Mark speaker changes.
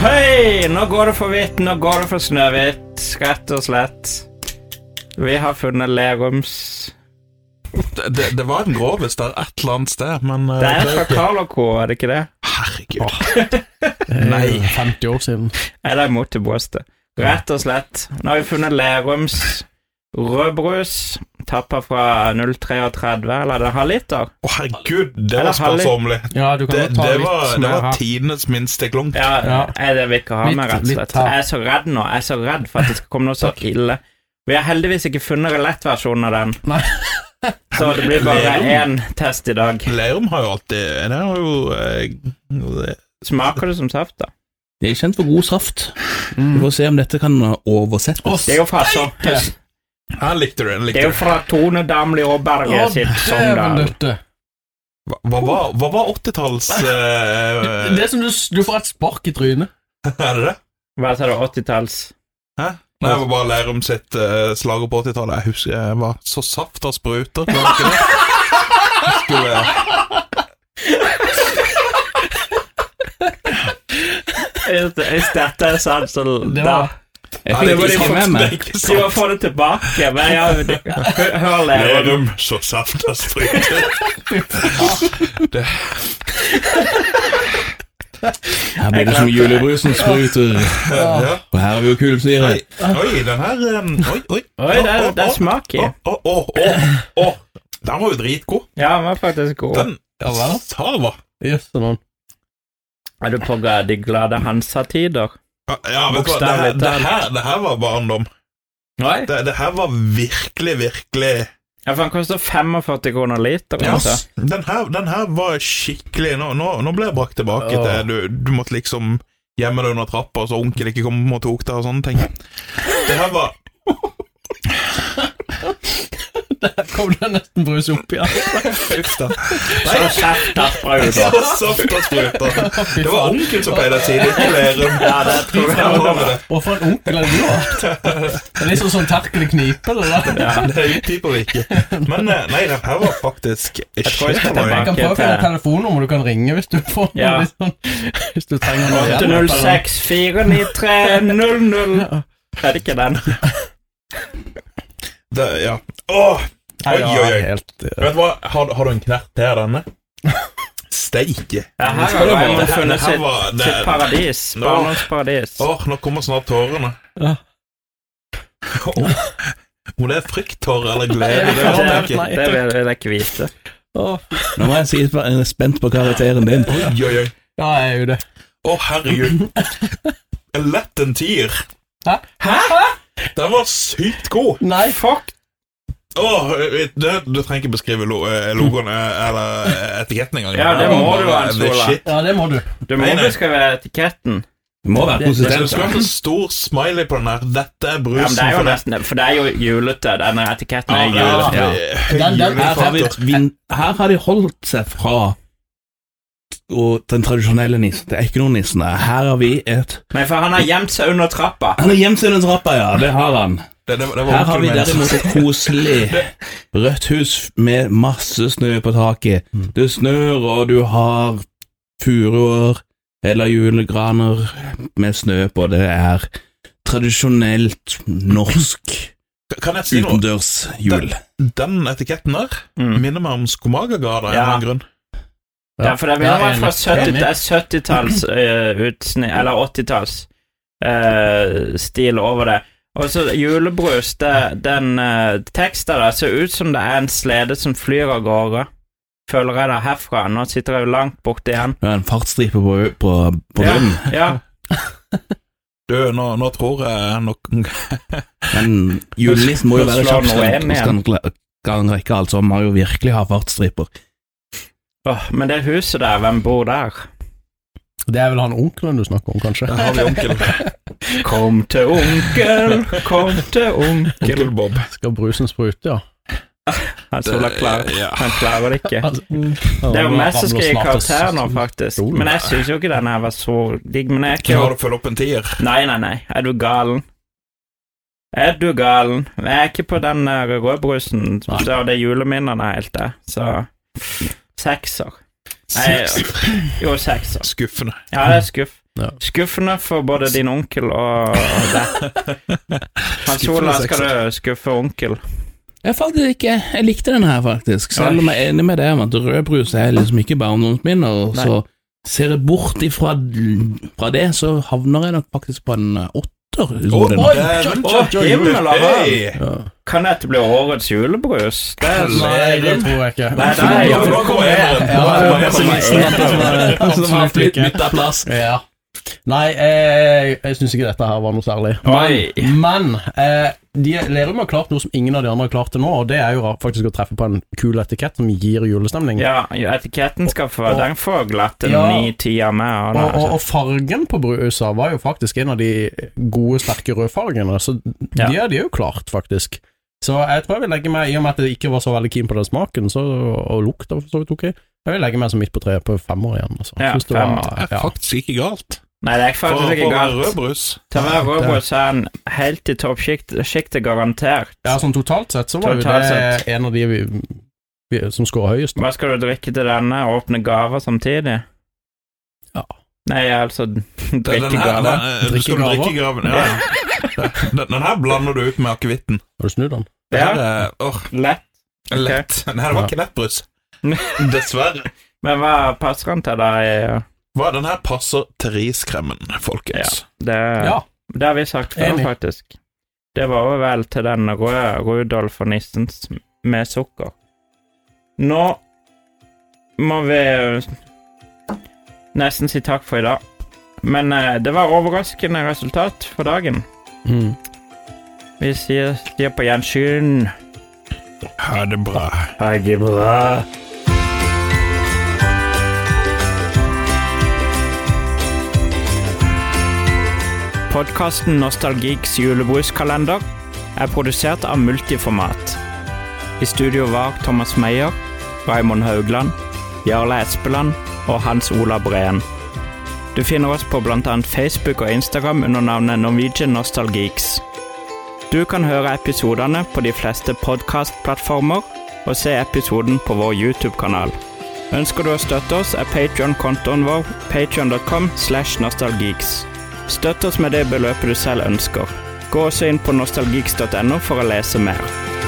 Speaker 1: Hei, nå går det for hvitt, nå går det for snøhvitt, rett og slett. Vi har funnet Lerums
Speaker 2: Det, det, det var en grovis der et eller annet sted, men eh,
Speaker 1: Det er fra
Speaker 2: det-
Speaker 1: Carl Co., er det ikke det?
Speaker 2: Herregud.
Speaker 3: Det er
Speaker 2: Nei.
Speaker 3: jo 50 Eh, år siden.
Speaker 1: Er det imot til brystet? Rett og slett. Nå har vi funnet Lerums rødbrus, tappa fra 033, eller den halvliter.
Speaker 2: Å, herregud, det
Speaker 1: Eller
Speaker 2: var
Speaker 1: Harley.
Speaker 2: sparsommelig.
Speaker 3: Ja, du kan
Speaker 2: Det,
Speaker 3: godt ta
Speaker 2: det
Speaker 3: litt
Speaker 2: var, det
Speaker 3: mer
Speaker 2: var
Speaker 3: her.
Speaker 2: tidenes minste klunk.
Speaker 1: Ja,
Speaker 3: Ja.
Speaker 1: er det vi ikke har med,
Speaker 3: Litt-
Speaker 1: rett og
Speaker 3: litt
Speaker 1: slett.
Speaker 3: her.
Speaker 1: Jeg er så redd nå. Jeg er så redd for at det skal komme noe så ille. Vi har heldigvis ikke funnet lettversjonen av den.
Speaker 3: Nei.
Speaker 1: Så det blir bare
Speaker 2: Lerum.
Speaker 1: én test i dag.
Speaker 2: Lerum har jo alltid Det har jo eh,
Speaker 1: Smaker det som saft, da?
Speaker 4: Jeg er kjent for god saft. Vi får se om dette kan eh, oversettes.
Speaker 1: Det er jo fra, så,
Speaker 2: Han likte det. Han
Speaker 1: det er
Speaker 2: likte
Speaker 1: jo
Speaker 2: det.
Speaker 1: fra Tone Damli Aaberge sitt Sogndal.
Speaker 3: døtte.
Speaker 2: Hva, hva var, hva var 80-talls eh,
Speaker 3: Det er som du, du får et spark i trynet.
Speaker 2: Er det det?
Speaker 1: Hva sa du, 80-talls?
Speaker 2: Hæ? Nei, det var bare Lerum sitt uh, slager på 80-tallet. Jeg husker jeg var så saft av spruter. Var det ikke det? Skulle,
Speaker 1: Hvis hvis dette er sant, så
Speaker 3: Det
Speaker 1: sånn da
Speaker 3: var,
Speaker 4: Jeg
Speaker 2: Nei, det
Speaker 4: fikk
Speaker 2: var
Speaker 4: det ikke med meg.
Speaker 2: ikke
Speaker 1: Du må
Speaker 2: sant.
Speaker 1: få det tilbake. Men ja, det- hø- hør Lerum.
Speaker 2: Lerum, så saft av spruter. Det,
Speaker 4: Her blir det som julebrusen spruter.
Speaker 2: ja.
Speaker 4: Og her er vi jo kullsyre.
Speaker 2: Nei, Oi, den her eh, Oi, oi.
Speaker 1: Oi, det er, det er smak i.
Speaker 2: Å, å, å, å, å. Den var jo dritgod.
Speaker 1: Ja, den var faktisk god.
Speaker 2: Den
Speaker 3: Ja, hva da?
Speaker 2: Sava.
Speaker 3: Jøss, det var-
Speaker 1: Er du på ga- de glade Hansa-tider?
Speaker 2: Ja, Ja, vet du hva, det her,
Speaker 1: Bokstavelig
Speaker 2: det
Speaker 1: talt.
Speaker 2: her, det her var barndom.
Speaker 1: Oi.
Speaker 2: Det, det her var virkelig, virkelig
Speaker 1: Ja, for den koster 45 kroner literen.
Speaker 2: Ja,
Speaker 1: Altså.
Speaker 2: den her, den her var skikkelig Nå, nå, nå ble jeg brakt tilbake
Speaker 3: Åh.
Speaker 2: til du, du måtte liksom gjemme deg under trappa, så onkel ikke kom og tok deg og sånne ting. Det her var
Speaker 3: Der kom det nesten brus opp igjen.
Speaker 2: Uff, da.
Speaker 1: Så kjeft da,
Speaker 2: Så
Speaker 1: brødre.
Speaker 2: saft og spruter. Det var onkel som pleide å si det, ikke Lerum.
Speaker 1: Ja, det tror jeg
Speaker 2: Hva var det?
Speaker 3: Og for en onkel er det du har. Det er liksom sånn terkel i knipe, det der.
Speaker 2: Det utdyper vi ikke. Men eh, nei, den her var faktisk
Speaker 1: tror jeg skal
Speaker 2: kjempebra.
Speaker 3: Jeg kan prøve å finne et telefonnummer du kan ringe hvis du får noe
Speaker 1: Ja.
Speaker 3: litt sånn Hvis du trenger noe hjelp eller noe.
Speaker 1: 806 493 00. Er det ikke den?
Speaker 2: Det- Ja. Åh,
Speaker 3: Nei,
Speaker 2: Oi, oi, oi.
Speaker 3: ja, helt, eh,
Speaker 2: Vet du hva, har, har du en knert til denne? Steike.
Speaker 1: Ja, her har Raymond
Speaker 2: Det her-
Speaker 1: funnet
Speaker 2: det her
Speaker 1: sitt,
Speaker 2: var- det-
Speaker 1: sitt paradis.
Speaker 2: Nå.
Speaker 1: Barndomsparadis.
Speaker 2: Åh, nå kommer snart tårene.
Speaker 3: Ja.
Speaker 2: Åh, Om det er frykttårer eller glede, det
Speaker 1: Det,
Speaker 2: vet jeg
Speaker 1: det,
Speaker 2: ikke.
Speaker 1: det vil vil jeg ikke vite.
Speaker 3: å,
Speaker 4: Nå må jeg si at jeg er spent på karakteren din.
Speaker 2: Oi, oi, oi.
Speaker 3: Ja, jeg er jo det.
Speaker 2: Å, herregud. Lett en tier.
Speaker 3: Hæ?
Speaker 2: Den var sykt god.
Speaker 3: Nei.
Speaker 1: Fuck!
Speaker 2: Åh, det- du trenger ikke beskrive lo- eh, logoen eh, eller etiketten engang.
Speaker 1: Ja, det må du ha,
Speaker 2: Det er
Speaker 1: Sola.
Speaker 2: shit.
Speaker 3: Ja, det må du.
Speaker 1: Du må
Speaker 2: Nei, nei.
Speaker 1: beskrive etiketten.
Speaker 4: Det må være
Speaker 2: Hvis du
Speaker 4: konsistent.
Speaker 2: skulle hatt en stor smiley på den her Dette er
Speaker 1: Ja, men
Speaker 2: brusen
Speaker 1: det er jo
Speaker 2: for deg.
Speaker 1: nesten For det er jo julete. Denne etiketten er
Speaker 2: Ja,
Speaker 1: julete.
Speaker 2: ja.
Speaker 3: Den- den-
Speaker 4: Her har, vi, vin- her har de holdt seg fra og den tradisjonelle nissen. Det er ikke noen nissen. der. Her har vi et
Speaker 1: Nei, for han har gjemt seg under trappa.
Speaker 4: Han har gjemt seg under trappa, ja. Det har han.
Speaker 2: Det, det, det var
Speaker 4: Her har
Speaker 2: onkel
Speaker 4: vi
Speaker 2: min.
Speaker 4: derimot et koselig rødt hus med masse snø på taket. Det snør, og du har furuer eller julegraner med snø på. Det er tradisjonelt norsk
Speaker 2: Kan jeg si noe?
Speaker 4: utendørs jul.
Speaker 2: Den etiketten der
Speaker 1: Mm.
Speaker 2: minner meg om Skomagergata.
Speaker 1: Ja.
Speaker 2: Ja. grunn
Speaker 1: Ja, for det vil være fra
Speaker 3: enig.
Speaker 1: 70
Speaker 3: Enig.
Speaker 1: det er 70-talls eh, utsnitt, eller 80-talls eh, stil over det. Og så julebrus, det, den eh, teksten der ser ut som det er en slede som flyr av gårde. Føler jeg det herfra. Nå sitter jeg jo langt borte igjen.
Speaker 4: Det er en fartsstripe på, på, på
Speaker 1: Ja,
Speaker 4: bunnen,
Speaker 1: ja.
Speaker 2: Du, nå, nå tror jeg nok
Speaker 4: men julenissen må jo
Speaker 1: Nå
Speaker 4: være
Speaker 1: slår
Speaker 4: kjapp.
Speaker 1: noe igjen
Speaker 4: Skal han kla- skal han rekke alt, så han må jo virkelig ha fartsstriper.
Speaker 1: Åh, men det huset der, hvem bor der?
Speaker 3: Det er vel han onkelen du snakker om, kanskje?
Speaker 2: Der har vi onkel,
Speaker 1: Kom til onkel, kom til onkel.
Speaker 2: onkel Bob.
Speaker 3: Skal brusen sprute, ja?
Speaker 1: Han skulle klare
Speaker 2: Eh, ja.
Speaker 1: Han klarer det ikke.
Speaker 3: Altså, Det
Speaker 1: Det er jo meg som skal gi karakter nå, faktisk. Men jeg syns jo ikke denne her var så digg. Men jeg er ikke
Speaker 2: Klarer du å følge opp en tier?
Speaker 1: Nei, nei, nei. Er du galen? Er du galen? Jeg er ikke på den der rødbrusen. Så det er juleminnene helt der. Så Sekser. Nei, jo, sekser.
Speaker 2: Skuffende.
Speaker 1: Ja, det er skuff.
Speaker 4: Ja.
Speaker 1: Skuffende for både din onkel og og deg. Hans Ola, skal du skuffe onkel?
Speaker 4: Jeg faktisk ikke Jeg likte den her, faktisk. Selv om jeg er enig med deg om at rødbrus er liksom ikke barndomsminner, og så ser jeg bort ifra fra det, så havner jeg nok faktisk på en eh, åtter. i
Speaker 2: Å,
Speaker 4: den.
Speaker 2: oi,
Speaker 1: Å, himmel og hav.
Speaker 2: Hei.
Speaker 4: Ja.
Speaker 1: Kan dette bli årets julebrus? Det er
Speaker 3: Nei, det tror jeg ikke.
Speaker 1: Nei, nei,
Speaker 2: Ja, nå kommer eneren.
Speaker 3: Ja,
Speaker 2: Nå kommer
Speaker 3: det var
Speaker 2: eneren.
Speaker 3: så liten at det var- absolutt ikke.
Speaker 4: bytta plass.
Speaker 3: Ja. Nei, eh, jeg syns ikke dette her var noe særlig.
Speaker 1: Oi.
Speaker 3: Men eh, de, Lerum har klart noe som ingen av de andre har klart til nå, og det er jo faktisk å treffe på en kul etikett som gir julestemning.
Speaker 1: Ja, etiketten skal få
Speaker 3: Og-
Speaker 1: Den får glatte
Speaker 3: Ja.
Speaker 1: ni-ti av meg.
Speaker 3: Og, og,
Speaker 1: altså.
Speaker 3: og fargen på brusa var jo faktisk en av de gode, sterke rødfargene, så
Speaker 1: Ja.
Speaker 3: de, er, de er jo klart, faktisk. Så jeg tror jeg vil legge meg, i og med at jeg ikke var så veldig keen på den smaken, så, og lukta var for så vidt ok, jeg vil legge meg som midt på treet på femmer igjen, altså.
Speaker 1: Ja,
Speaker 3: Synes det
Speaker 1: fem.
Speaker 2: Det er
Speaker 3: ja.
Speaker 2: faktisk ikke galt.
Speaker 1: Nei, det er
Speaker 2: For,
Speaker 1: faktisk
Speaker 2: for
Speaker 1: ikke
Speaker 2: å være
Speaker 1: galt.
Speaker 2: rødbrus.
Speaker 1: Til å være rødbrus er han helt i toppsjiktet, garantert.
Speaker 3: ja, sånn totalt sett så var jo
Speaker 1: Totalt
Speaker 3: det en av de vi, vi, som skårer høyest.
Speaker 1: Hva skal du drikke til denne? Åpne gaver samtidig?
Speaker 3: Ja.
Speaker 1: Nei, altså
Speaker 2: Den
Speaker 1: drikke
Speaker 2: her-
Speaker 1: gaver.
Speaker 2: den- eh, du skal
Speaker 3: Drikkegaver.
Speaker 2: drikke i graven. Ja. Den, den her blander du ut med akevitten.
Speaker 3: Har du snudd den?
Speaker 2: Det
Speaker 1: Ja,
Speaker 2: her er åh,
Speaker 1: lett.
Speaker 2: lett. Nei, det var ikke lett brus. Dessverre.
Speaker 1: Men hva passer han til deg?
Speaker 2: Hva, den her passer til riskremen, folkens.
Speaker 1: Det,
Speaker 3: Ja.
Speaker 1: det har vi sagt før,
Speaker 3: Enig.
Speaker 1: faktisk. Det var jo vel til den røde Rudolf og nissens med sukker. Nå må vi eh, nesten si takk for i dag. Men eh, det var overraskende resultat for dagen. Vi sier, sier på gjensyn.
Speaker 2: Ha det bra.
Speaker 1: Ha det bra. Podkasten Nostalgiks julebruskalender er produsert av Multiformat. I studio var Thomas Meyer, Raymond Haugland, Jarle Espeland og Hans Ola Breen. Du finner oss på bl.a. Facebook og Instagram under navnet Norwegian Nostalgeeks. Du kan høre episodene på de fleste podkastplattformer og se episoden på vår YouTube-kanal. Ønsker du å støtte oss, er Patreon-kontoen vår patreon.com slash nostalgeeks. Støtt oss med det beløpet du selv ønsker. Gå også inn på nostalgeeks.no for å lese mer.